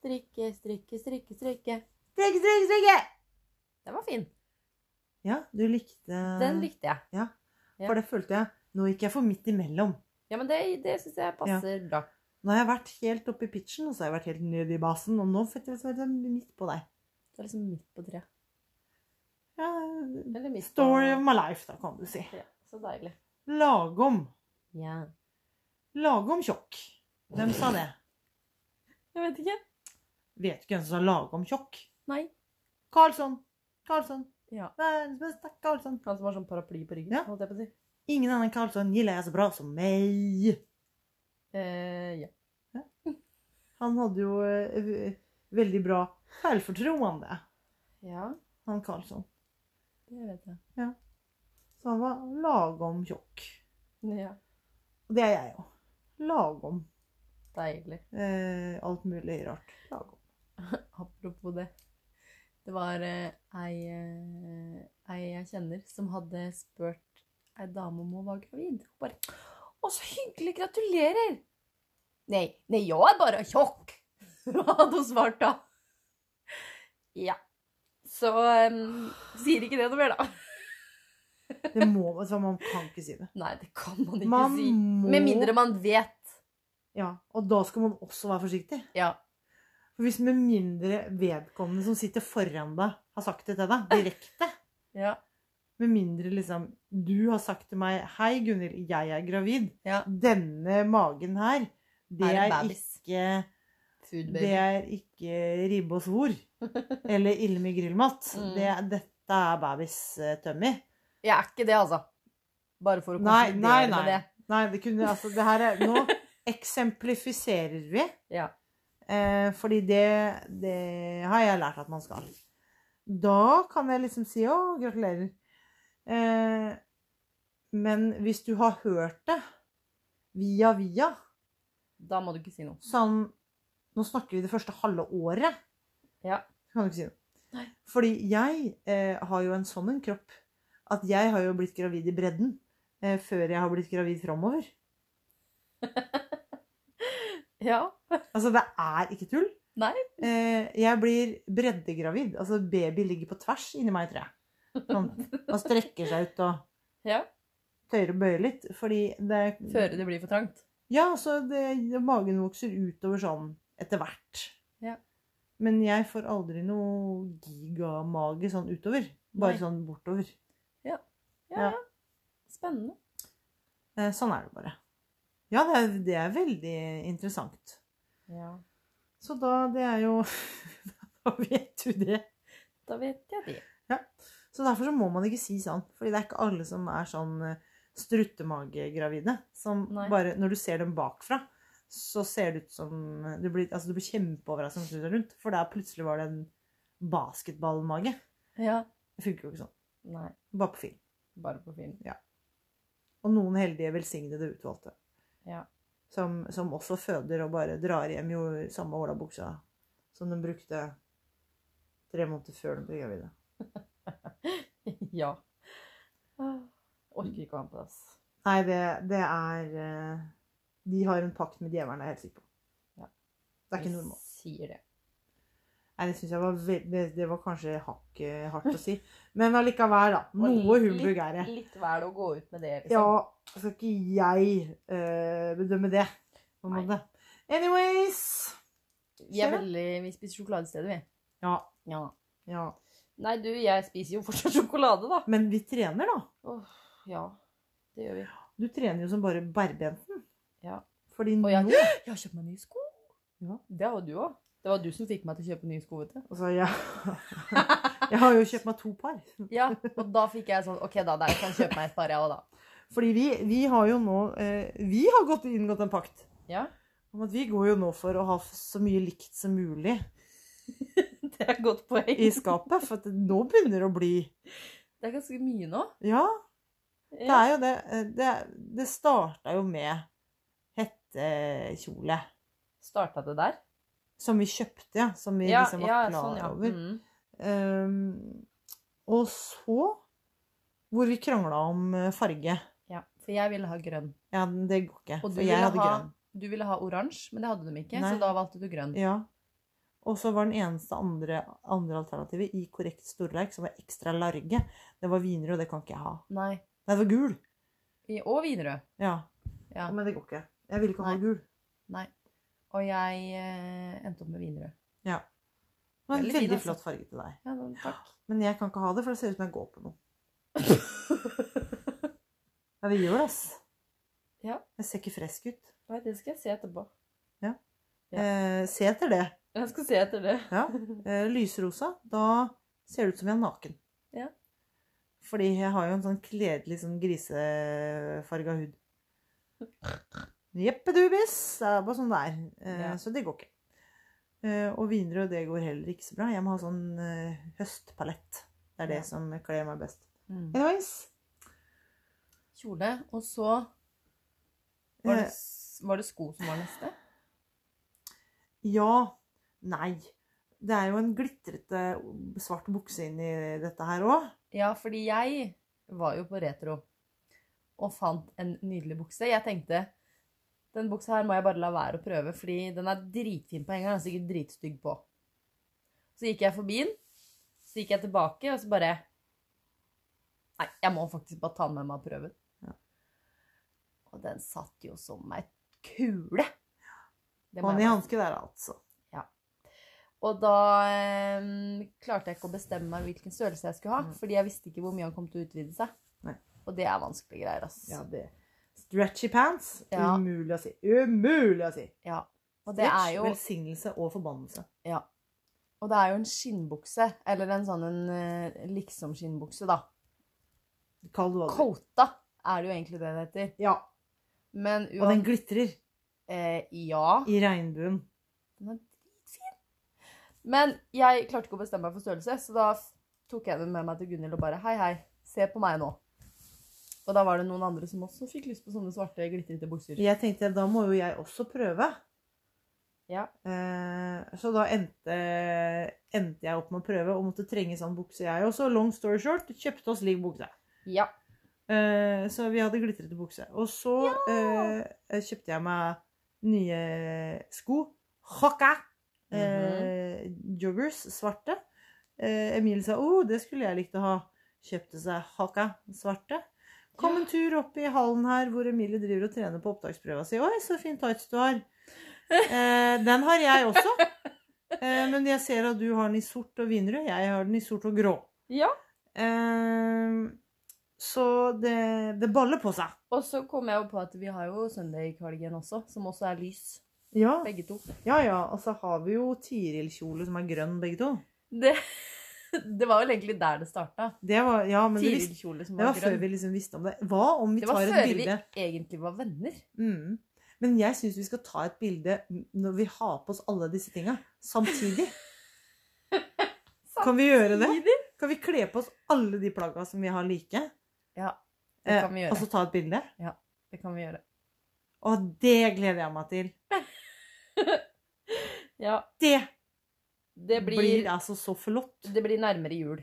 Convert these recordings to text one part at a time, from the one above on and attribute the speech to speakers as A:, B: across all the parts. A: Strikke, strikke, strikke, strikke.
B: Strekke, strekke, strekke!
A: Den var fin.
B: Ja, du likte
A: Den likte jeg. ja.
B: For det følte jeg Nå gikk jeg for midt imellom.
A: Ja, men det, det syns jeg passer bra.
B: Nå har jeg vært helt oppe i pitchen, og så har jeg vært helt nede i basen, og nå fikk jeg være midt på deg.
A: Det er liksom midt på treet.
B: Ja,
A: Eller midt på
B: story of my life, da, kan du si.
A: Ja, så deilig.
B: Lage om.
A: Ja.
B: Lage om tjokk. Hvem sa det?
A: Jeg vet ikke.
B: Vet ikke hvem som sa lage om tjokk.
A: Nei.
B: Karlsson. Karlsson.
A: Ja.
B: Verdens beste Karlsson.
A: Han som har sånn paraply på ryggen,
B: Ja.
A: holdt jeg på å si.
B: Ingen annen Karlsson gilder jeg så bra som meg.
A: Eh, ja.
B: Han hadde jo eh, v- veldig bra selvfortroende,
A: ja,
B: han Karlsson.
A: det vet jeg.
B: Så han var lagom tjokk.
A: Ja,
B: Og det er jeg jo. Lagom
A: Deilig.
B: eh, alt mulig rart. Lagom.
A: Apropos det. Det var eh, ei, eh, ei jeg kjenner som hadde spurt ei dame om hun var gravid. Hun bare 'Å, så hyggelig! Gratulerer!' Nei, nei, jeg er bare tjokk! hadde hun svart da. Ja. Så em, sier ikke det noe mer, da.
B: Det må så Man kan ikke si det.
A: Nei, det kan man ikke
B: Man
A: si.
B: må
A: Med mindre man vet.
B: Ja. Og da skal man også være forsiktig.
A: Ja.
B: For hvis med mindre vedkommende som sitter foran deg, har sagt det til deg direkte
A: Ja.
B: Med mindre liksom du har sagt til meg 'Hei, Gunhild, jeg er gravid'.
A: Ja.
B: Denne magen her, det
A: Er
B: er,
A: en babys.
B: ikke
A: Food
B: Det
A: baby.
B: er ikke ribbe og svor. Eller ille med grillmat.
A: Mm.
B: Det, dette er babys eh, tømmi.
A: Jeg er ikke det, altså. Bare for å
B: Nei,
A: konkludere
B: nei, nei.
A: med det.
B: Nei, det kunne altså det her er, Nå eksemplifiserer vi.
A: Ja.
B: Eh, fordi det, det har jeg lært at man skal. Da kan jeg liksom si 'å, gratulerer'. Eh, men hvis du har hørt det via via
A: Da må du ikke si noe.
B: sånn Nå snakker vi det første halve året.
A: Ja.
B: Så kan du ikke si noe.
A: Nei.
B: Fordi jeg eh, har jo en sånn en kropp at jeg har jo blitt gravid i bredden eh, før jeg har blitt gravid framover.
A: Ja.
B: Altså, det er ikke tull.
A: Nei.
B: Eh, jeg blir breddegravid. Altså, baby ligger på tvers inni meg, tror jeg. Sånn. Man strekker seg ut og
A: Ja.
B: tøyer og bøyer litt. Fordi det
A: Før det blir for trangt.
B: Ja, så det, magen vokser utover sånn etter hvert.
A: Ja.
B: Men jeg får aldri noe gigamage sånn utover. Bare
A: Nei.
B: sånn bortover.
A: Ja,
B: Ja.
A: ja. Spennende.
B: Eh, sånn er det bare. Ja, det er, det er veldig interessant.
A: Ja.
B: Så da det er jo Da vet du det.
A: Da vet jeg det.
B: Så derfor så må man ikke si sånn. Fordi det er ikke alle som er sånn eh, struttemagegravide. Som
A: Nei.
B: bare Når du ser dem bakfra, så ser det ut som Du blir, altså, du blir kjempeoverraska når du snur deg rundt, for der plutselig var det en basketballmage.
A: Ja.
B: Det funker jo ikke sånn.
A: Nei.
B: Bare på film.
A: Bare på film.
B: Og noen heldige, velsignede utvalgte.
A: Ja.
B: Som, som også føder og bare drar hjem jo samme olabuksa som de brukte tre måneder før de ble gravide.
A: ja. Ah, Orker ikke å ha med plass.
B: Nei, det, det er eh, De har en pakt med djevelen, er jeg helt sikker på.
A: Ja.
B: Det er ikke normalt.
A: Sier det.
B: Nei, det synes jeg var veld- det, det var kanskje hakket hardt å si. Men allikevel, da. Noe humbug er det.
A: Litt, litt vel å gå ut med det,
B: Ja,
A: liksom.
B: skal ikke jeg eh, bedømme det, på en
A: Nei.
B: måte. Anyways.
A: vi er veldig Vi spiser sjokolade i stedet, vi.
B: Ja.
A: Ja.
B: ja.
A: Nei, du, jeg spiser jo fortsatt sjokolade, da.
B: Men vi trener, da.
A: Ja. Det gjør vi.
B: Du trener jo som bare bærbenten.
A: Ja.
B: Fordi
A: Og
B: nå
A: jeg, jeg har kjøpt meg nye sko.
B: Ja.
A: Det har jo du òg. Det var du som fikk meg til å kjøpe nye sko. vet du.
B: altså, jeg, jeg har jo kjøpt meg to par.
A: Ja, Og da fikk jeg sånn OK, da. Der kan jeg kjøpe meg et par, jeg òg, da.
B: Fordi vi, vi har jo nå eh, Vi har gått, inngått en pakt
A: Ja,
B: om at vi går jo nå for å ha f- så mye likt som mulig
A: Det er et godt poeng.
B: i skapet. For at det- nå begynner det å bli
A: Det er ganske mye nå.
B: Ja, det
A: Ja.
B: er jo det. eh, Det, det starta jo med hettekjole.
A: Starta det der?
B: Som vi kjøpte, ja. Som vi
A: Ja,
B: liksom var
A: ja,
B: klar
A: sånn, ja.
B: over.
A: Mm.
B: Um, og så hvor vi krangla om eh, farge.
A: ja. For jeg ville ha grønn.
B: Ja, det går ikke.
A: Og du
B: For jeg
A: ville
B: hadde
A: ha
B: grønn.
A: Du ville ha oransje, men det hadde de ikke,
B: Nei.
A: så da valgte du grønn.
B: Ja. Og så var den eneste andre, andre alternativet i korrekt storleik, som var ekstra large, det var vinrød. Det kan ikke jeg ha.
A: Nei.
B: Nei, det var gul.
A: I- Og Widerøe.
B: Ja.
A: Ja.
B: Men det går ikke. Jeg ville ikke ha
A: Nei.
B: gul.
A: Nei. Og jeg eh, endte opp med Widerøe.
B: Det var en
A: Veldig fin,
B: veldig
A: altså.
B: flott farge til deg.
A: Ja, men takk.
B: Men jeg kan ikke ha det, for det ser ut som jeg går på noe. Ja, det gjør det, ass.
A: Ja.
B: Jeg ser ikke frisk ut.
A: Nei, det skal jeg se etterpå. Ja.
B: Eh, se etter det.
A: Jeg skal se etter det.
B: Ja. Eh, lysrosa, da ser det ut som jeg er naken.
A: Ja.
B: Fordi jeg har jo en sånn kledelig sånn grisefarga hud. Jeppe dubis. Det er bare sånn det er. Eh,
A: Ja.
B: Så det går ikke. Eh, og vinrød, det går heller ikke så bra. Jeg må ha sånn eh, høstpalett. Det er det
A: Ja.
B: som kler meg best.
A: Mm.
B: Anyways.
A: Kjole. Og så var
B: Eh.
A: det, s- var det sko som var neste.
B: Ja. Nei. Det er jo en glitrete svart bukse inni dette her òg.
A: Ja, fordi jeg var jo på retro og fant en nydelig bukse. Jeg tenkte den buksa her må jeg bare la være å prøve, fordi den er dritfin på hengeren. Den er sikkert dritstygg på. Så gikk jeg forbi den, så gikk jeg tilbake, og så bare Nei, jeg må faktisk bare ta den med meg og prøve den.
B: Ja.
A: Og den satt jo som ei kule. Det må
B: Hånd i
A: jeg bare
B: hanske der, altså.
A: Og da eh, klarte jeg ikke å bestemme meg hvilken størrelse jeg skulle ha,
B: Mm.
A: fordi jeg visste ikke hvor mye han kom til å utvide seg.
B: Nei.
A: Og det er vanskelige greier, ass.
B: Ja, det. Stretchy pants.
A: Ja.
B: Umulig å si. Umulig å si!
A: Ja. Og, det er jo,
B: velsignelse og forbannelse.
A: og det er jo en skinnbukse, eller en sånn en eh, liksom-skinnbukse, da.
B: Kall det hva du vil.
A: Kota er det jo egentlig det det heter.
B: Ja.
A: Men
B: Og
A: uansett
B: den glitrer
A: eh, Ja.
B: i regnbuen.
A: Den er dritfin. Men jeg klarte ikke å bestemme meg for størrelse, så da f- tok jeg den med meg til Gunhild og bare Hei, hei, se på meg nå. Og da var det noen andre som også fikk lyst på sånne svarte, glitrete bukser.
B: Jeg tenkte da må jo jeg også prøve.
A: Ja.
B: Eh, Så da endte, endte jeg opp med å prøve og måtte trenge sånn bukse, jeg også. Long story short, kjøpte oss lik bukse.
A: Ja.
B: Eh, Så vi hadde glitrete bukse. Og så eh, kjøpte jeg meg nye sko. Hokka! Eh, joggers, svarte. Eh, Emil sa 'Å, oh, det skulle jeg likt å ha'. Kjøpte seg hokka, svarte. Kom en tur opp i hallen her hvor Emilie driver og trener på opptaksprøva si. 'Oi, så fin tights du har'. Eh, den har jeg også. Eh, men jeg ser at du har den i sort og vinrød. Jeg har den i sort og grå.
A: Ja.
B: Eh, så det, det baller på seg.
A: Og så kom jeg jo på at vi har jo søndagkvelden også, som også er lys.
B: Ja,
A: Begge to.
B: ja, ja. Og så har vi jo Tiril-kjole som er grønn, begge to.
A: Det, det var vel egentlig der det starta.
B: Det var, ja, men det, visste,
A: Tiril-kjole som
B: det
A: var
B: var før
A: grønn.
B: vi liksom visste om det. Hva om vi
A: Det var
B: tar et
A: før vi
B: bilde?
A: egentlig var venner.
B: Mm. Men jeg syns vi skal ta et bilde når vi har på oss alle disse tinga samtidig. Kan vi gjøre det? Kan vi kle på oss alle de plagga som vi har like?
A: Ja, det kan vi
B: Eh,
A: gjøre.
B: og så ta et bilde?
A: det kan vi gjøre.
B: Og det gleder jeg meg til.
A: Ja,
B: Det,
A: det
B: blir,
A: blir
B: altså så flott.
A: Det blir nærmere jul.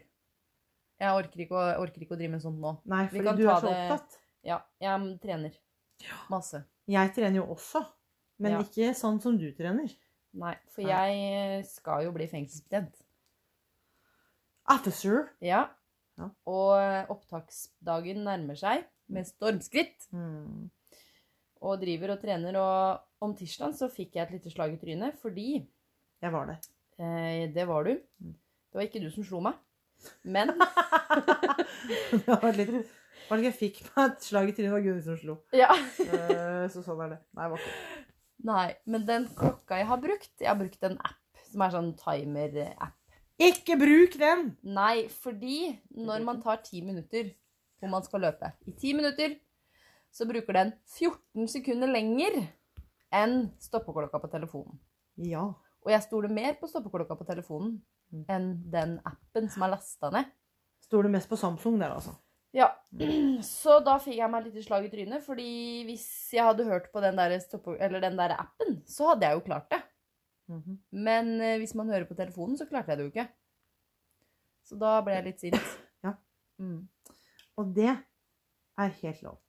A: Jeg orker ikke å, orker ikke å drive med sånt nå.
B: Nei,
A: Vi
B: fordi
A: kan
B: du er
A: ta
B: så
A: det-
B: opptatt.
A: Ja, jeg trener. Masse.
B: Jeg trener jo også, men
A: Ja.
B: ikke sånn som du trener.
A: Nei, for
B: Nei.
A: jeg skal jo bli fengselsbetjent.
B: Officer.
A: Ja.
B: Ja.
A: Og opptaksdagen nærmer seg med stormskritt. Hmm.
B: Mm.
A: Og driver og trener. Og om tirsdagen så fikk jeg et lite slag i trynet fordi
B: Jeg var der.
A: eh, Det var du. Det var ikke du som slo meg. Men
B: det var litt var det ikke jeg fikk meg et slag i trynet, det var Gunhild som slo.
A: Ja.
B: Eh, Så sånn er det. Nei, det var ikke
A: Nei. Men den klokka jeg har brukt Jeg har brukt en app som er sånn timer-app.
B: Ikke bruk den!
A: Nei, fordi når man tar ti minutter hvor man skal løpe I ti minutter så bruker den 14 sekunder lenger enn stoppeklokka på telefonen.
B: Ja.
A: Og jeg stoler mer på stoppeklokka på telefonen enn den appen som er lasta ned.
B: Står det mest på Samsung der, altså.
A: Ja,
B: Mm.
A: Så da fikk jeg meg et lite slag i trynet, fordi hvis jeg hadde hørt på den der, stoppe, eller den der appen, så hadde jeg jo klart det.
B: Mhm.
A: Men eh, hvis man hører på telefonen, så klarte jeg det jo ikke. Så da ble jeg litt sint.
B: Ja.
A: Mm.
B: Og det er helt lov.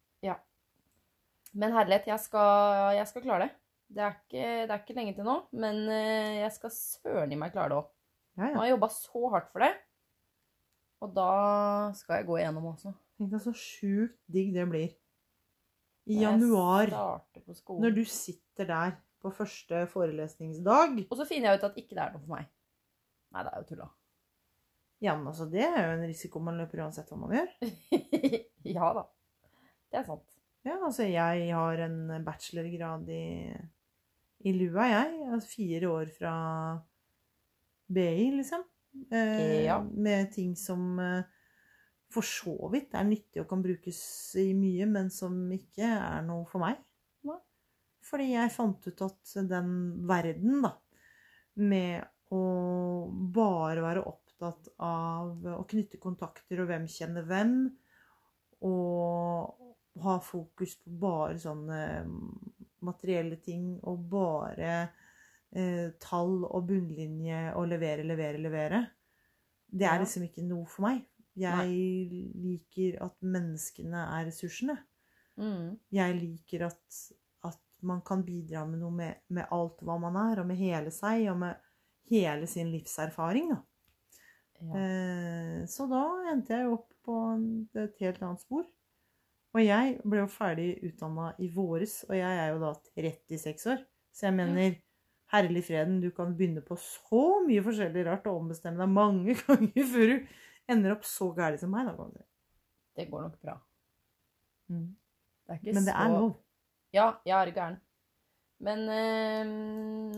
A: Men herlighet, jeg skal, jeg skal klare det. Det er ikke, det er ikke lenge til nå, men eh, jeg skal søren i meg klare det òg.
B: Ja,
A: Nå
B: ja.
A: har jeg jobba så hardt for det, og da skal jeg gå igjennom også.
B: Tenk deg så sjukt digg det blir.
A: Når
B: I
A: jeg
B: januar,
A: starter på skolen.
B: når du sitter der på første forelesningsdag
A: Og så finner jeg ut at ikke det er noe for meg. Nei, det er jo tulla.
B: Ja, men altså, det er jo en risiko man løper uansett hva man gjør.
A: ja da. Det er sant.
B: Ja, altså, jeg har en bachelorgrad i, i lua, jeg. Altså, fire år fra BI, liksom. Eh,
A: Ja.
B: Med ting som eh, for så vidt er nyttig og kan brukes i mye, men som ikke er noe for meg.
A: Hva?
B: Fordi jeg fant ut at den verden, da, med å bare være opptatt av å knytte kontakter og hvem kjenner hvem, og ha fokus på bare sånne mm, materielle ting og bare eh, tall og bunnlinje og levere, levere, levere, det
A: Ja.
B: er liksom ikke noe for meg. Jeg liker at menneskene er ressursene
A: Mm.
B: jeg liker at, at man kan bidra med noe med, med alt hva man er, og med hele seg, og med hele sin livserfaring. Da.
A: Ja.
B: Eh, så da endte jeg jo opp på en, et helt annet spor. Og jeg ble jo ferdig utdanna i våres, og jeg er jo da 36 år. Så jeg mener, herlig freden, du kan begynne på så mye forskjellig rart og ombestemme deg mange ganger før du ender opp så gæren som meg. Da, kan du si.
A: Det går nok bra. Det er ikke
B: Men det er
A: så
B: lov.
A: Ja, jeg er gæren. Men eh,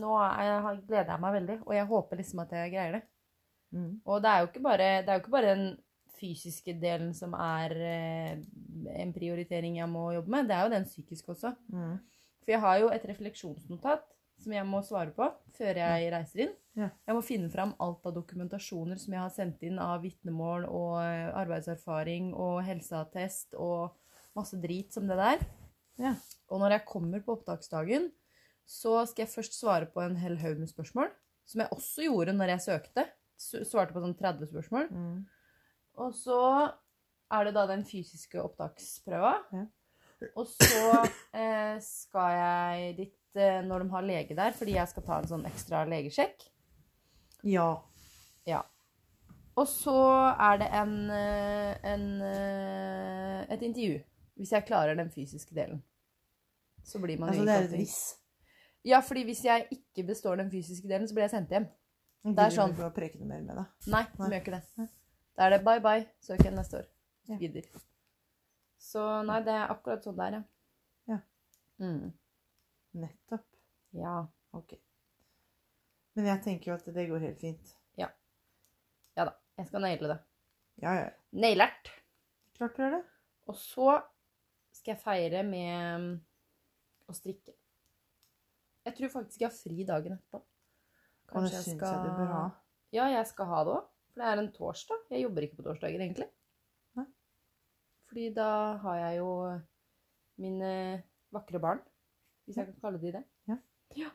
A: nå er jeg, gleder jeg meg veldig, og jeg håper liksom at jeg greier det.
B: Mm.
A: Og det er jo ikke bare, det er jo ikke bare den fysiske delen som er eh, en prioritering jeg må jobbe med, det er jo den psykiske også.
B: Mm.
A: For jeg har jo et refleksjonsnotat som jeg må svare på før jeg reiser inn.
B: Ja.
A: Jeg må finne fram alt av dokumentasjoner som jeg har sendt inn av vitnemål og eh, arbeidserfaring og helseattest og masse drit som det der.
B: Ja.
A: Og når jeg kommer på opptaksdagen, så skal jeg først svare på en hel haug med spørsmål. Som jeg også gjorde når jeg søkte. S- Svarte på sånn 30 spørsmål.
B: Mm.
A: Og så er det da den fysiske opptaksprøva.
B: Ja.
A: Og så eh, skal jeg dit eh, når de har lege der, fordi jeg skal ta en sånn ekstra legesjekk.
B: Ja.
A: Og så er det en, eh, en, eh, et intervju. Hvis jeg klarer den fysiske delen. Så blir man
B: Altså,
A: jo
B: det er
A: innkalt
B: et
A: til-
B: hvis.
A: Ja, fordi hvis jeg ikke består den fysiske delen, så blir jeg sendt hjem. Det er sånn.
B: Gidder du å preke noe mer med deg.
A: Nei,
B: Nei.
A: de gjør ikke
B: Nei.
A: det. Da er det bye bye, søk igjen neste år.
B: Ja.
A: Gidder. Så nei, det er akkurat sånn der, ja.
B: Ja.
A: Mm.
B: Nettopp.
A: Ja.
B: Ok. Men jeg tenker jo at det går helt fint.
A: ja da, jeg skal naile det.
B: Ja, ja.
A: Nailert!
B: Klart du gjør det.
A: Og så skal jeg feire med mm, å strikke. Jeg tror faktisk jeg har fri dagen etterpå.
B: Og det syns jeg du bør ha.
A: Ja, jeg skal ha det òg. For det er en torsdag. Jeg jobber ikke på torsdager, egentlig.
B: Nei.
A: Fordi da har jeg jo mine vakre barn, hvis jeg kan kalle de det.
B: Ja.
A: ja.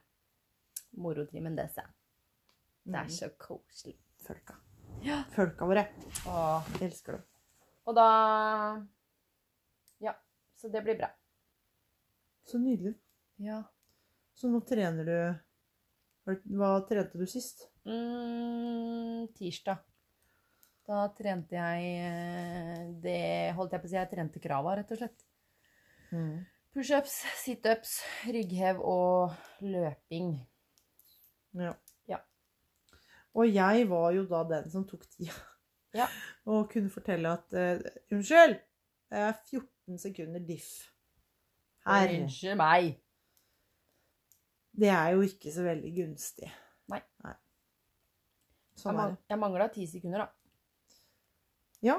A: Morotrimen disse. Det er
B: Mm.
A: så koselig.
B: Følka.
A: Ja.
B: Følka våre.
A: Og,
B: Jeg elsker dem.
A: og da Ja. Så det blir bra.
B: Så nydelig.
A: Ja.
B: Så nå trener du Har du- Hva trente du sist?
A: Mm, tirsdag. Da trente jeg eh, Det holdt jeg på å si. Jeg trente krava, rett og slett.
B: Mm.
A: Pushups, situps, rygghev og løping.
B: Ja.
A: Ja.
B: Og jeg var jo da den som tok tida.
A: Ja.
B: Og kunne fortelle at eh, Unnskyld! Det er 14 sekunder diff. Herre
A: Unnskyld meg.
B: Det er jo ikke så veldig gunstig.
A: Nei. Jeg,
B: Sånn er
A: man
B: det.
A: jeg mangla ti sekunder, da.
B: Ja.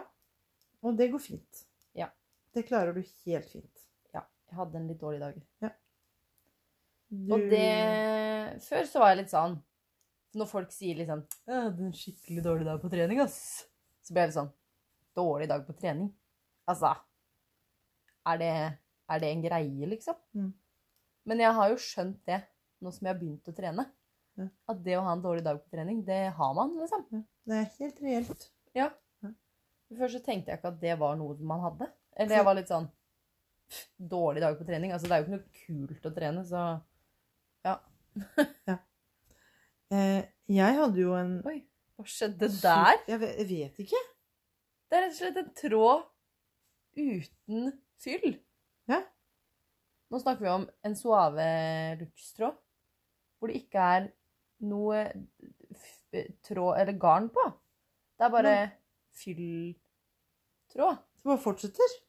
B: Og det går fint.
A: Ja.
B: Det klarer du helt fint.
A: Jeg hadde en litt dårlig dag.
B: Du,
A: Og det Før så var jeg litt sånn Når folk sier liksom 'Jeg hadde en skikkelig dårlig dag på trening, ass', så ble jeg litt sånn Dårlig dag på trening? Altså Er det, er det en greie, liksom?
B: Mm.
A: Men jeg har jo skjønt det, nå som jeg har begynt å trene.
B: Ja.
A: At det å ha en dårlig dag på trening, det har man, liksom.
B: det er helt reelt.
A: Først så tenkte jeg ikke at det var noe man hadde. Eller jeg var litt sånn pff, Dårlig dag på trening. Altså, det er jo ikke noe kult å trene, så Ja.
B: ja. Eh, jeg hadde jo en
A: Oi, hva skjedde der?
B: Jeg vet, jeg vet ikke.
A: Det er rett og slett en tråd uten fyll.
B: Ja.
A: Nå snakker vi om en suave lux-tråd, hvor det ikke er noe f- tråd eller garn på. Det er bare fylltråd.
B: Så bare fortsetter.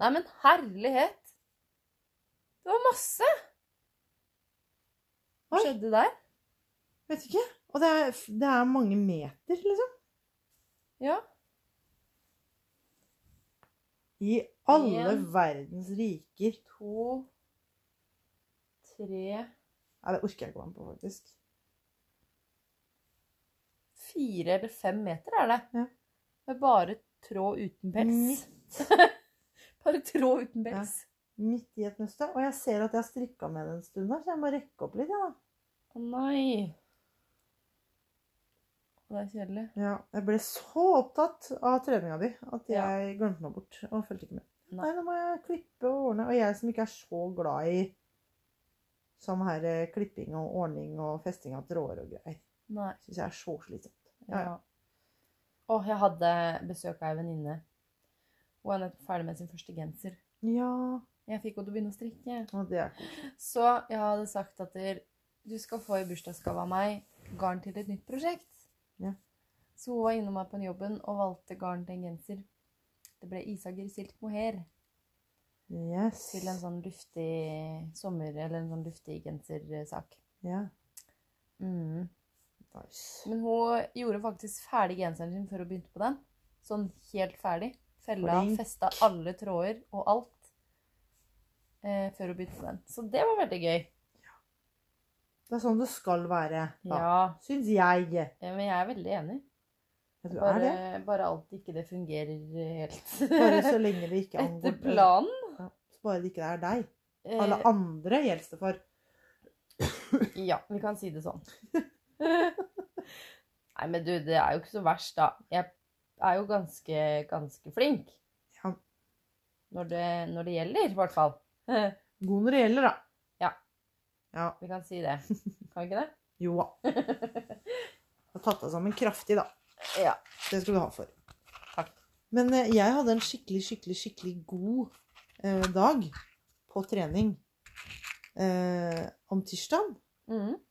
A: Nei, men herlighet! Det var masse! Hva
B: Oi.
A: skjedde der?
B: Vet ikke. Og det er, det er mange meter, liksom.
A: Ja.
B: I alle
A: En.
B: verdens riker.
A: To Tre
B: Nei, det orker jeg ikke å være med på, faktisk.
A: Fire eller fem meter er det.
B: Ja.
A: Med bare tråd uten pels. bare tråd uten pels.
B: Midt i et mønster. Og jeg ser at jeg har strikka med det en stund, her, så jeg må rekke opp litt. Ja, da.
A: Å nei. Det er kjedelig.
B: Ja, jeg ble så opptatt av treninga di at jeg glemte meg bort og fulgte ikke med.
A: Nei.
B: Nei, nå må jeg klippe og ordne. Og jeg som ikke er så glad i sånn her eh, klipping og ordning og festing av tråder og greier,
A: Nei.
B: syns jeg er så slitsomt. Ja,
A: Ja.
B: ja.
A: Åh, jeg hadde besøk av ei venninne. Hun er nettopp ferdig med sin første genser.
B: Ja,
A: Jeg fikk henne til å begynne å strikke.
B: og det er koselig.
A: Så jeg hadde sagt at der, du skal få i bursdagsgave av meg garn til et nytt prosjekt.
B: Ja.
A: Så hun var innom meg på den jobben og valgte garn til en genser. Det ble Isager silk mohair
B: Yes.
A: til en sånn luftig sommer- eller en sånn luftig gensersak.
B: Ja.
A: Mm.
B: Nice.
A: Men hun gjorde faktisk ferdig genseren sin før hun begynte på den. Sånn helt ferdig. Fella,
B: Flink.
A: festa alle tråder og alt eh, før hun begynte på den. Så det var veldig gøy.
B: Det er sånn det skal være.
A: Ja,
B: Ja. Syns jeg.
A: eh, men jeg er veldig enig.
B: Ja, du er
A: Bare,
B: det.
A: bare alt ikke det fungerer helt
B: Bare så lenge det ikke
A: etter
B: angår
A: planen.
B: Ja, Så bare det ikke er deg.
A: Eh,
B: Alle andre gjelder det for.
A: ja, vi kan si det sånn. Nei, men du, det er jo ikke så verst, da. Jeg er jo ganske, ganske flink.
B: Ja.
A: Når det, når det gjelder, i hvert fall. Vi
B: God når det gjelder, da.
A: Ja.
B: Ja.
A: kan si det. Kan vi ikke det?
B: Jo da. Du har tatt deg sammen kraftig, da.
A: Ja.
B: Det skal du ha for.
A: Takk.
B: Men eh, jeg hadde en skikkelig, skikkelig, skikkelig god eh, dag på trening eh, om tirsdag. Mm.
A: Mhm.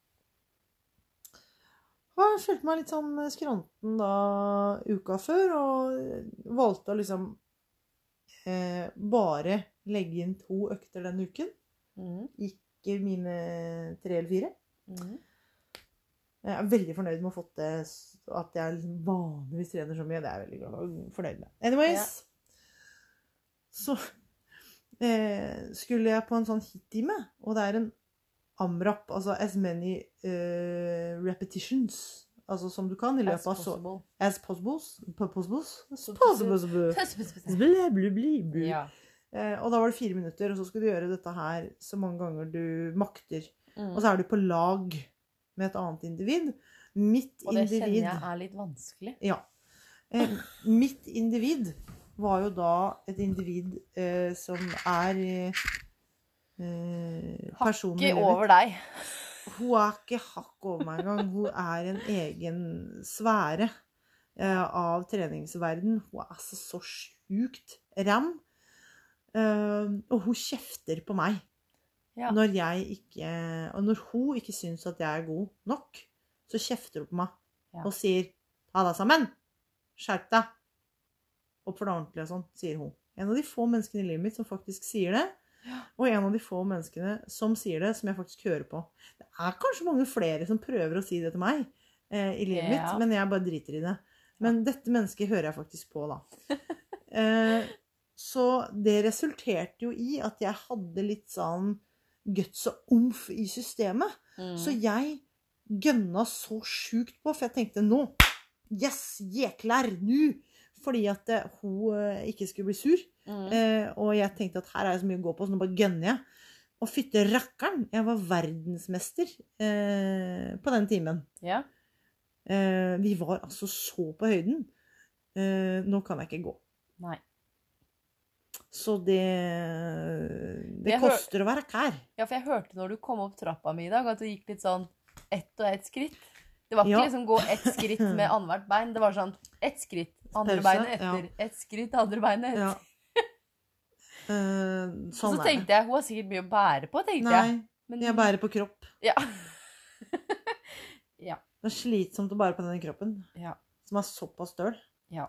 B: Og jeg følte meg litt sånn skranten da uka før, og valgte å liksom eh, bare legge inn to økter den uken.
A: Mhm.
B: Ikke mine tre eller fire.
A: Mhm.
B: Jeg er veldig fornøyd med å ha fått det s- at jeg liksom vanligvis trener så mye. Det er jeg veldig glad for- Mm, fornøyd med. Anyways. Så eh, skulle jeg på en sånn hit-time, og det er en amrap, altså as many eh, repetitions, altså som du kan i løpet av
A: As
B: så
A: possible.
B: As possibles. po- Possibles.
A: Så-
B: Possibles. Blæ, blæ, blæ, blæ.
A: Ja.
B: Eh, Og da var det fire minutter, og så skulle du gjøre dette her så mange ganger du makter.
A: Mhm.
B: Og så er du på lag med et annet individ. Mitt
A: Og det kjenner
B: individ
A: jeg er litt vanskelig.
B: Ja. Eh, mitt individ var jo da et individ eh, som er eh, eh, personen
A: Ikke
B: jeg lever-
A: over deg.
B: Hun er ikke hakk over meg engang. Hun er en egen sfære eh, av treningsverden. Hun er altså så sjukt ram. Eh, og hun kjefter på meg
A: Ja.
B: når jeg ikke Og når hun ikke syns at jeg er god nok, så kjefter hun på meg
A: Ja.
B: og sier 'ta deg sammen', 'skjerp deg', oppfør deg ordentlig og sånn, sier hun. En av de få menneskene i livet mitt som faktisk sier det, og en av de få menneskene som sier det, som jeg faktisk hører på. Det er kanskje mange flere som prøver å si det til meg eh, i livet
A: Ja.
B: mitt, men jeg bare driter i det. Men dette mennesket hører jeg faktisk på, da. Eh, så det resulterte jo i at jeg hadde litt sånn guts og omf i systemet.
A: Mhm.
B: Så jeg gønna så sjukt på, for jeg tenkte nå Yes, jekler, nu! Fordi at eh, hun eh, ikke skulle bli sur.
A: Mhm.
B: Eh, og jeg tenkte at her er det så mye å gå på, så nå bare gønner jeg. Og fytte rakkeren! Jeg var verdensmester eh, på den timen.
A: Ja.
B: Eh, vi var altså så på høyden. Eh, nå kan jeg ikke gå.
A: Nei.
B: Så det Det
A: Jeg hør-
B: koster å være kær.
A: Ja, for jeg hørte når du kom opp trappa mi i dag, at du gikk litt sånn ett og ett skritt. Det var ikke
B: Ja.
A: liksom gå ett skritt med annethvert bein. Det var sånn ett skritt, andre
B: Pause,
A: beinet etter. Ett skritt, andre beinet etter.
B: Ja. Eh,
A: Og
B: sånn
A: så
B: er det.
A: tenkte jeg hun har sikkert mye å bære på, tenkte jeg.
B: Nei,
A: Men,
B: jeg bærer på kropp.
A: Ja. Ja.
B: Det er slitsomt å bære på denne kroppen,
A: Ja.
B: som er såpass støl.
A: Ja.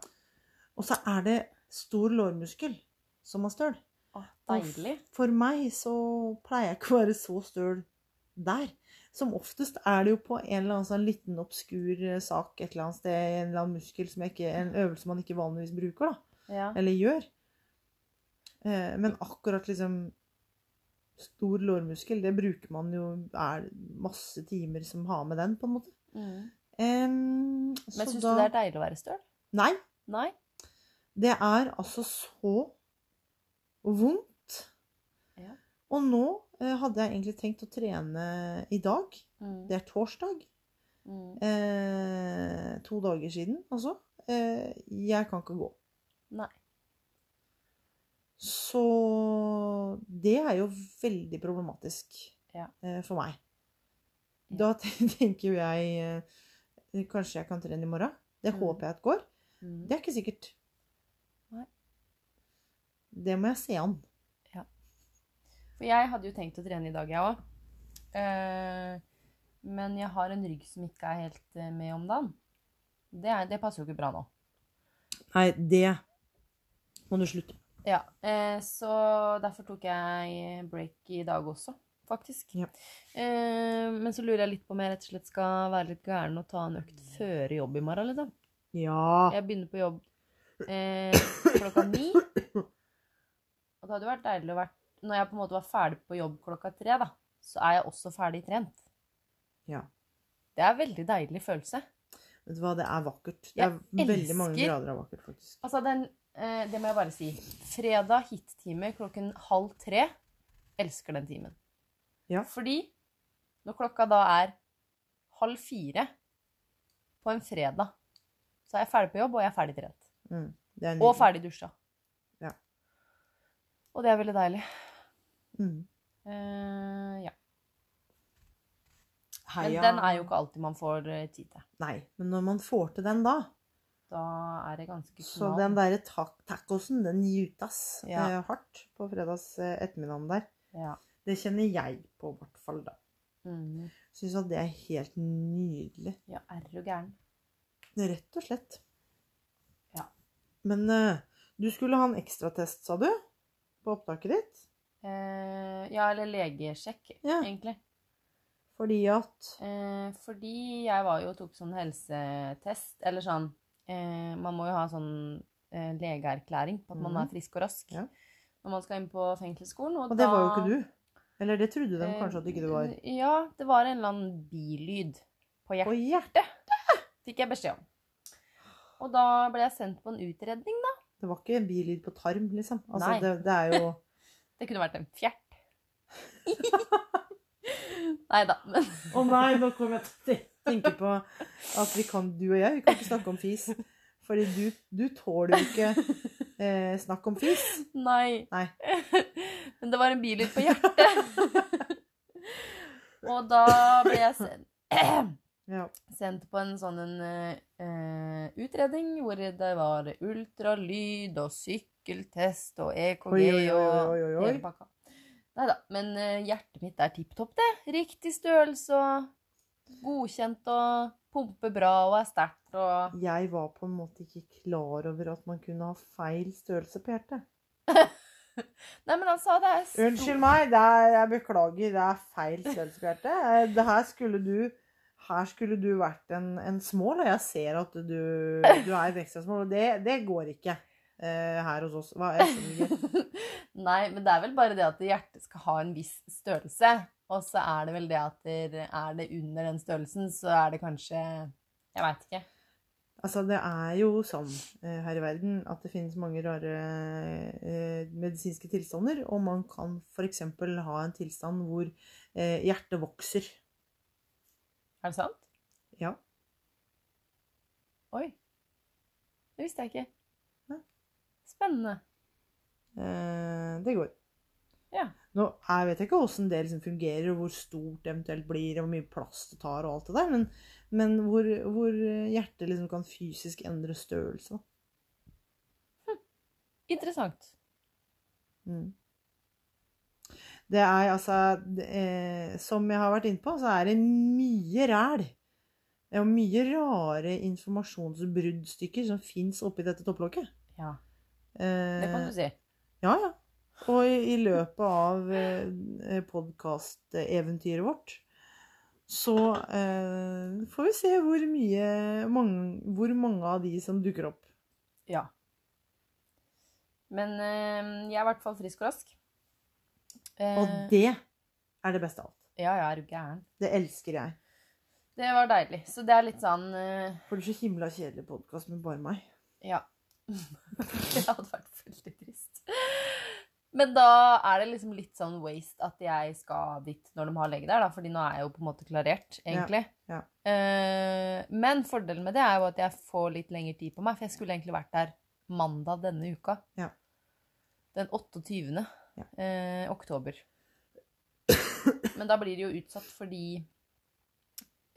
B: Og så er det stor lårmuskel som er støl.
A: Å,
B: Og
A: deilig.
B: f- For meg så pleier jeg ikke å være så støl der. Som oftest er det jo på en eller annen sånn liten obskur eh, sak et eller annet sted, en eller annen muskel som jeg ikke En øvelse man ikke vanligvis bruker, da.
A: Ja.
B: Eller gjør. Eh, men akkurat liksom Stor lårmuskel, det bruker man jo Er masse timer som har med den, på en måte.
A: Mm.
B: Em,
A: Men
B: så
A: syns
B: da-
A: du det er deilig å være støl?
B: Nei.
A: Nei?
B: Det er altså så vondt.
A: Ja.
B: Og nå eh, hadde jeg egentlig tenkt å trene i dag.
A: Mm.
B: Det er torsdag.
A: Mm.
B: Eh, to dager siden, altså. Eh, jeg kan ikke gå.
A: Nei.
B: Så det er jo veldig problematisk
A: Ja.
B: eh, for meg.
A: Ja.
B: Da tenker jo jeg eh, Kanskje jeg kan trene i morgen? Det
A: Mm.
B: håper jeg at går.
A: Mm.
B: Det er ikke sikkert.
A: Nei.
B: Det må jeg se an.
A: For jeg hadde jo tenkt å trene i dag, jeg òg. Eh, men jeg har en rygg som ikke er helt eh, med om dagen. Det, er, det passer jo ikke bra nå.
B: Nei, det må du slutte.
A: Ja, eh, så derfor tok jeg break i dag også, faktisk.
B: Ja.
A: Eh, men så lurer jeg litt på om jeg rett og slett skal være litt gæren og ta en økt før jobb i morgen, eller da.
B: Ja.
A: Jeg begynner på jobb eh, klokka ni. Og det hadde jo vært deilig å vært Når jeg på en måte var ferdig på jobb klokka tre, da, så er jeg også ferdig trent.
B: Ja.
A: Det er en veldig deilig følelse.
B: Vet du hva, det er vakkert. Det
A: Jeg
B: er veldig mange
A: elsker-
B: grader av vakkert, faktisk.
A: Altså, den eh, Det må jeg bare si. Fredag hit-time klokken halv tre. Elsker den timen.
B: Ja.
A: Fordi når klokka da er halv fire på en fredag, så er jeg ferdig på jobb, og jeg er ferdig trent.
B: Mm. Det er
A: Og
B: nydelig.
A: ferdig dusja.
B: Ja.
A: Og det er veldig deilig.
B: Mm.
A: Eh, ja. Men
B: Heia.
A: den er jo ikke alltid man får eh, tid til.
B: Nei, men når man får til den da,
A: Da er det ganske
B: så
A: smal.
B: den derre ta tacosen, den jutas
A: Ja.
B: eh, hardt på fredags eh, ettermiddagen der.
A: Ja.
B: Det kjenner jeg på, i hvert fall da.
A: Mhm.
B: Syns at det er helt nydelig.
A: ja, er du gæren?
B: Rett og slett.
A: Ja.
B: Men eh, du skulle ha en ekstratest, sa du? På opptaket ditt?
A: Eh, ja, eller legesjekk,
B: Ja.
A: egentlig.
B: Fordi at
A: Eh, fordi jeg var jo og tok sånn helsetest, eller sånn eh, Man må jo ha sånn eh, legeerklæring på at man
B: Mhm.
A: er frisk og rask
B: Ja.
A: når man skal inn på fengselsskolen. Og,
B: Og det var jo
A: da-
B: ikke du. Eller det trodde de
A: Eh,
B: kanskje at ikke det var.
A: Ja, det var en eller annen bilyd på
B: Å
A: hjertet,
B: hjerte!
A: fikk jeg beskjed om. Og da ble jeg sendt på en utredning, da.
B: Det var ikke bilyd på tarm, liksom. Altså,
A: Nei.
B: det, det er jo
A: Det kunne vært en fjert. Nei da, men
B: Å nei, nå kom jeg til å tenke på at vi kan, du og jeg, vi kan ikke snakke om fis. Fordi du, du tåler jo ikke eh, snakk om fis.
A: Nei.
B: Nei.
A: men det var en bilyd på hjertet. Og da ble jeg sendt,
B: Ja.
A: sendt på en sånn en, eh, utredning hvor det var ultralyd og sykkeltest og EKG
B: Oi, oi, oi,
A: og
B: oi, oi,
A: Hele
B: oi.
A: pakka. Nei da. Men eh, hjertet mitt er tipp topp, det. Riktig størrelse og godkjent og pumper bra og er sterkt og
B: Jeg var på en måte ikke klar over at man kunne ha feil størrelse på hjertet.
A: Nei, men han sa det er stor-
B: Unnskyld meg, det er, jeg beklager, det er feil størrelse på hjertet. Eh, Det her skulle du her skulle du vært en, en smål, og jeg ser at du, du er et ekstra smål. og Det, det går ikke eh, her hos oss. Hva, jeg skjønner ikke.
A: Nei, men det er vel bare det at hjertet skal ha en viss størrelse. Og så er det vel det at der- er det under den størrelsen, så er det kanskje Jeg veit ikke.
B: Altså, det er jo sånn eh, her i verden at det finnes mange rare eh, medisinske tilstander, og man kan f.eks. ha en tilstand hvor eh, hjertet vokser.
A: Er det sant?
B: Ja.
A: Oi. Det visste jeg ikke.
B: Nei.
A: Spennende.
B: Eh, det går.
A: Ja.
B: Nå, jeg vet ikke hvordan det liksom fungerer, og hvor stort det eventuelt blir, og hvor mye plass det tar, og alt det der, men, men hvor, hvor hjertet liksom kan fysisk endre størrelse. da.
A: Interessant.
B: Mm. Det er altså det er, Som jeg har vært inne på, så er det mye ræl. Og mye rare informasjonsbruddstykker som fins oppi dette topplokket.
A: Ja,
B: Eh,
A: det kan du si.
B: Ja, ja. Og i, i løpet av eh, podkasteventyret vårt så eh, får vi se hvor mye mange, Hvor mange av de som dukker opp.
A: Ja. Men eh, jeg er i hvert fall frisk og rask. Eh,
B: Og det er det beste av alt.
A: Ja, jeg er jo gæren.
B: Det elsker jeg.
A: Det var deilig. Så det er litt sånn eh,
B: For det er så himla kjedelig podkast med bare meg.
A: Ja. det hadde vært veldig trist. Men da er det liksom litt sånn waste at jeg skal dit når de har lege der, da, fordi nå er jeg jo på en måte klarert, egentlig.
B: Ja,
A: Eh, men fordelen med det er jo at jeg får litt lengre tid på meg, for jeg skulle egentlig vært der mandag denne uka.
B: Ja.
A: Den 28.
B: Ja.
A: eh, oktober. Men da blir det jo utsatt fordi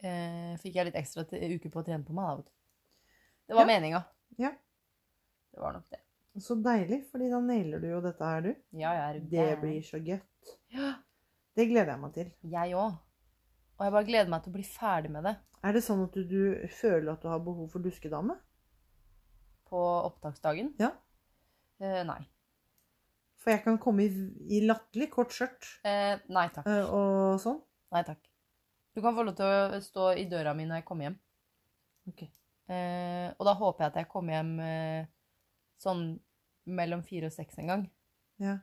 A: eh, Fikk jeg litt ekstra t- uker på å trene på meg, da, vet du. Det var
B: Ja.
A: meninga.
B: Ja.
A: Det var nok det.
B: Så deilig, fordi da nailer du jo dette her, du.
A: Ja, jeg er jo
B: Det
A: gæren.
B: blir så gøtt.
A: Ja.
B: Det gleder jeg meg til.
A: Jeg òg. Og jeg bare gleder meg til å bli ferdig med det
B: Er det sånn at du, du føler at du har behov for duskedame?
A: på opptaksdagen.
B: Ja.
A: Eh, nei.
B: For jeg kan komme i, i latterlig kort skjørt
A: Eh, nei takk.
B: eh, og sånn.
A: Nei takk. Du kan få lov til å stå i døra mi når jeg kommer hjem.
B: Ok.
A: Eh, og da håper jeg at jeg kommer hjem eh, sånn mellom fire og seks en gang.
B: Ja.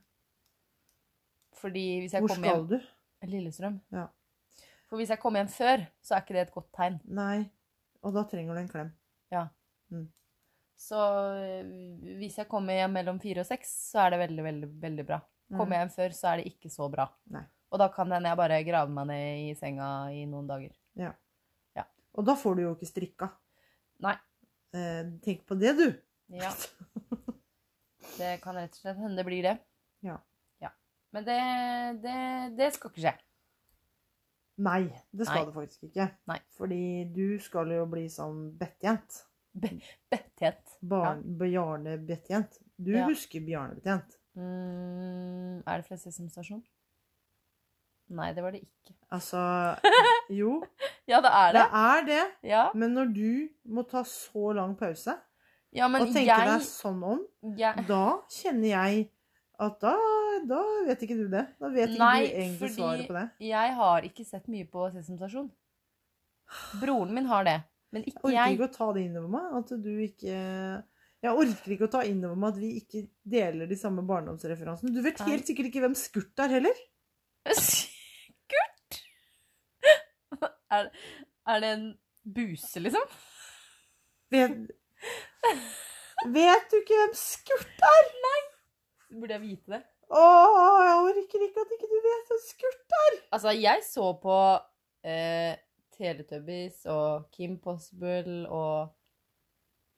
A: Fordi hvis jeg
B: Hvor
A: kommer
B: skal
A: hjem
B: du?
A: Lillestrøm.
B: Ja.
A: For hvis jeg kommer hjem før, så er ikke det et godt tegn.
B: Nei. Og da trenger du en klem.
A: Så eh, hvis jeg kommer hjem mellom fire og seks, så er det veldig, veldig, veldig bra. Kommer jeg hjem før, så er det ikke så bra.
B: Mm. Nei.
A: Og da kan det hende jeg bare grave meg ned i senga i noen dager.
B: Og da får du jo ikke strikka.
A: Nei.
B: Eh, tenk på det, du.
A: Ja. Det kan rett og slett hende det blir det.
B: Ja.
A: ja. Men det, det, det skal ikke skje.
B: Nei, det skal
A: Nei.
B: du faktisk ikke.
A: Nei.
B: Fordi du skal jo bli sånn bettjent.
A: Betthet.
B: Barn, Bjarne Bettjent. Du
A: Ja.
B: husker Bjarne Bettjent.
A: Mm, er det fra Sesam stasjon? Nei, det var det ikke.
B: Altså Jo,
A: Ja, det er
B: det
A: det.
B: er det.
A: Ja,
B: Men når du må ta så lang pause
A: ja men
B: og tenke
A: jeg,
B: deg sånn om,
A: jeg
B: da kjenner jeg at da, da vet ikke du det. Da vet ikke
A: Nei,
B: du egentlig
A: fordi-
B: svaret på det.
A: Jeg har ikke sett mye på Sesam stasjon. Broren min har det, men
B: Jeg
A: ikke
B: orker
A: jeg.
B: ikke å ta det innover meg at du ikke Jeg orker ikke å ta innover meg at vi ikke deler de samme barndomsreferansene. Du vet
A: Nei.
B: helt sikkert ikke hvem Skurt er heller.
A: Skurt! Er, er det en buse, liksom?
B: Vet, vet du ikke hvem Skurt
A: Burde jeg vite det?
B: Åh, jeg orker ikke at ikke du vet hvem Skurt er!
A: Altså, jeg så på eh, Teletubbies og Kim Possible og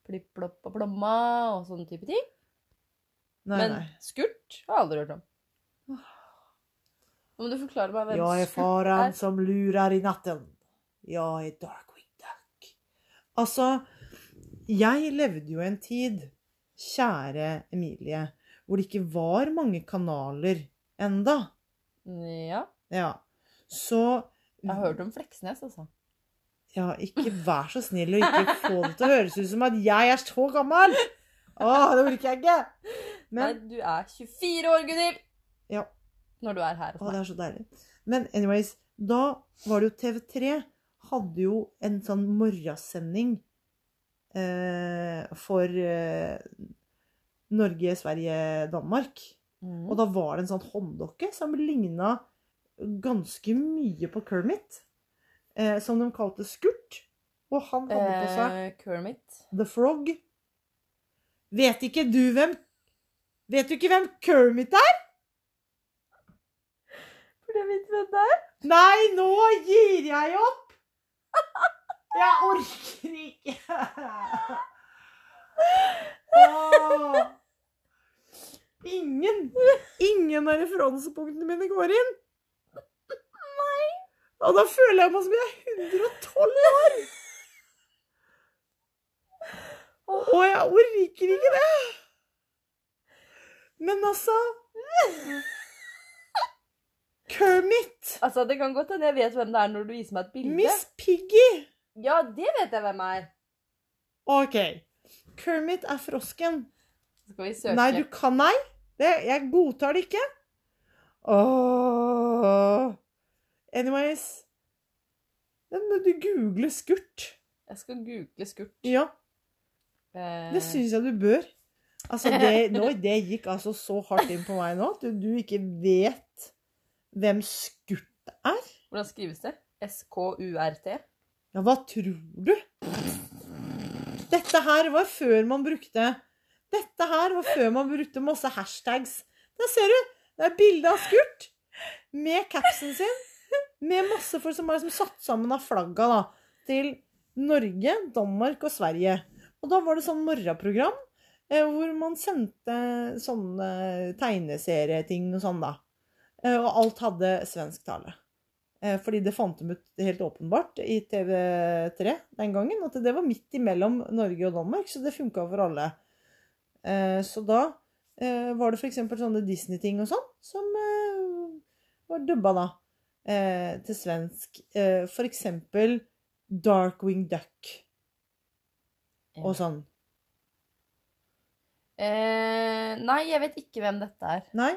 A: Plipp, Plopp og Plomma og sånne type ting.
B: Nei,
A: Men
B: nei.
A: Skurt har jeg aldri hørt om. Nå må du forklare meg hvem Skurt
B: Jeg er
A: er.
B: faren som lurer i natten. Jeg er Darkwing Duck. Altså, jeg levde jo i en tid, kjære Emilie, hvor det ikke var mange kanaler enda.
A: Ja.
B: Ja. Så
A: Jeg har hørt om Fleksnes, altså.
B: Ja, ikke vær så snill og ikke få det til å høres ut som at jeg er så gammel! Å, det orker jeg ikke! Men
A: Nei, du er 24 år, Gunhild!
B: Ja.
A: Når du er her hos
B: Å, det
A: meg.
B: er så deilig. Men anyways, da var det jo TV3 hadde jo en sånn morgensending eh, for eh, Norge, Sverige, Danmark.
A: Mm.
B: Og da var det en sånn hånddokke som ligna ganske mye på Kermit. Eh, som de kalte Skurt. Og han hadde på seg
A: Eh, Kermit.
B: The Frog. Vet ikke du hvem Vet du ikke hvem Kermit er?
A: Burde jeg vite hvem det er?
B: Nei, nå gir jeg opp! Jeg orker ikke! Åh. Ingen Ingen av referansepunktene mine går inn. Nei. Og da føler jeg meg som jeg er 112 år. Og jeg orker ikke det. Men altså Kermit.
A: Altså, Det kan godt hende jeg vet hvem det er når du viser meg et bilde.
B: Miss Piggy.
A: Ja, det vet jeg hvem er.
B: OK. Kermit er frosken.
A: Skal vi søke?
B: Nei, du kan Nei! Det, jeg godtar det ikke. Åh. Anyways Den må du google skurt.
A: Jeg skal google skurt.
B: Ja,
A: Eh,
B: det syns jeg du bør. Altså, det, nå, det gikk altså så hardt inn på meg nå at du ikke vet hvem skurt er.
A: Hvordan skrives det? S-K-U-R-T?
B: Ja, hva tror du? Dette her var før man brukte Dette her var før man brukte masse hashtags. Der ser du! Det er bilde av Skurt med capsen sin. Med masse folk som er liksom satt sammen av flagga da, til Norge, Danmark og Sverige. Og da var det sånn morgenprogram eh, hvor man sendte sånne tegneserieting og sånn, da. Eh, og alt hadde svensk tale. Eh, Fordi det fant de ut helt åpenbart i TV3 den gangen, at det var midt imellom Norge og Danmark, så det funka for alle. Eh, Så da eh, var det f.eks. sånne Disney-ting og sånn, som eh, var dubba da eh, til svensk. Eh, F.eks. Darkwing Duck og sånn.
A: Eh, nei, jeg vet ikke hvem dette er.
B: Nei?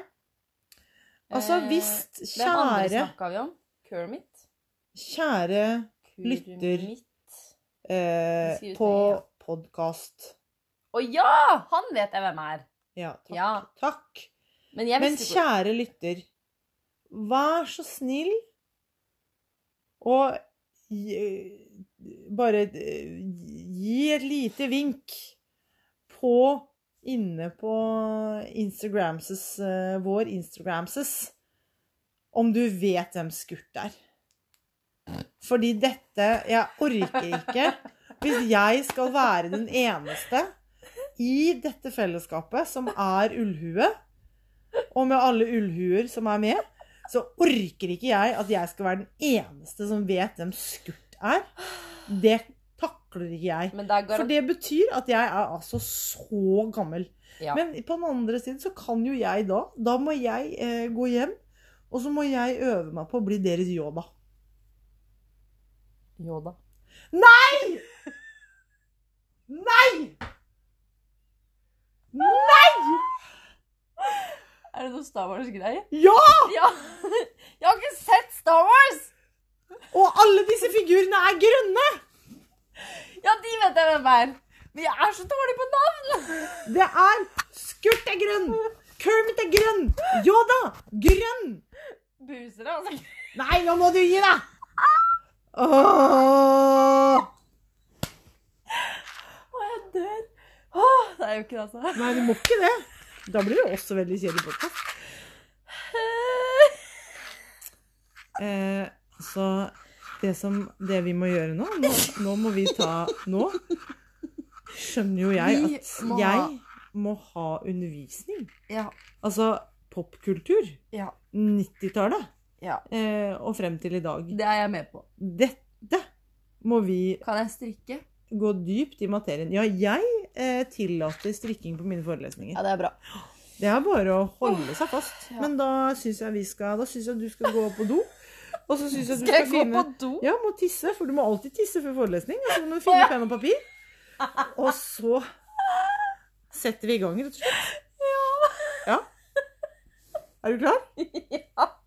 B: Altså,
A: Eh,
B: visst,
A: Hvem andre
B: kjære,
A: snakka vi om? Kermit?
B: kjære Lytter.
A: Kermit.
B: eh,
A: Skrives med
B: på
A: E,
B: podkast
A: Å ja! Han vet jeg hvem er.
B: Ja, takk.
A: Ja.
B: takk.
A: Men jeg
B: Men
A: visste ikke
B: kjære lytter, vær så snill og gi, bare eh, gi et lite vink på Inne på Instagramses, eh, vår Instagramses om du vet hvem Skurt er. Fordi dette Jeg orker ikke hvis jeg skal være den eneste i dette fellesskapet som er ullhue, og med alle ullhuer som er med, så orker ikke jeg at jeg skal være den eneste som vet hvem Skurt er. Det takler ikke jeg.
A: Men det er
B: For
A: garant...
B: det betyr at jeg er altså så gammel.
A: Ja.
B: Men på den andre siden så kan jo jeg da Da må jeg eh, gå hjem, og så må jeg øve meg på å bli deres Yoda.
A: Yoda.
B: Nei!
A: Er det noe Star Wars-greie?
B: Ja!
A: Ja! Jeg har ikke sett Star Wars!
B: Og alle disse figurene er grønne!
A: Ja, de vet jeg hvem er. Men jeg er så dårlig på navn!
B: Det er Skurt er grønn! Kermit er grønn! Yoda grønn!
A: Busere, altså.
B: Nei, nå må du gi deg! Åh.
A: Å, jeg dør. Åh, det er jo ikke det, altså.
B: Nei, du må ikke det. Da blir det også veldig kjedelig podkast. Eh, så det, som, det vi må gjøre nå, nå Nå må vi ta Nå skjønner jo jeg
A: Vi
B: at
A: må
B: jeg
A: ha-
B: må ha undervisning.
A: Ja,
B: Altså popkultur.
A: ja,
B: 90-tallet
A: ja.
B: eh, og frem til i dag.
A: Det er jeg med på.
B: Dette må vi
A: Kan jeg strikke?
B: gå dypt i materien. Ja, jeg eh, tillater strikking på mine forelesninger.
A: det er bra.
B: Det er bare å holde seg fast.
A: Ja.
B: Men da syns jeg vi skal Da syns jeg du skal gå på do. Og så syns jeg du
A: Skal jeg
B: skal
A: gå
B: finne
A: på do?
B: Ja, må tisse, for du må alltid tisse før forelesning. Og så må du finne penn og papir. Og så setter vi i gang, rett og slett. Ja. Er du klar?
A: Ja.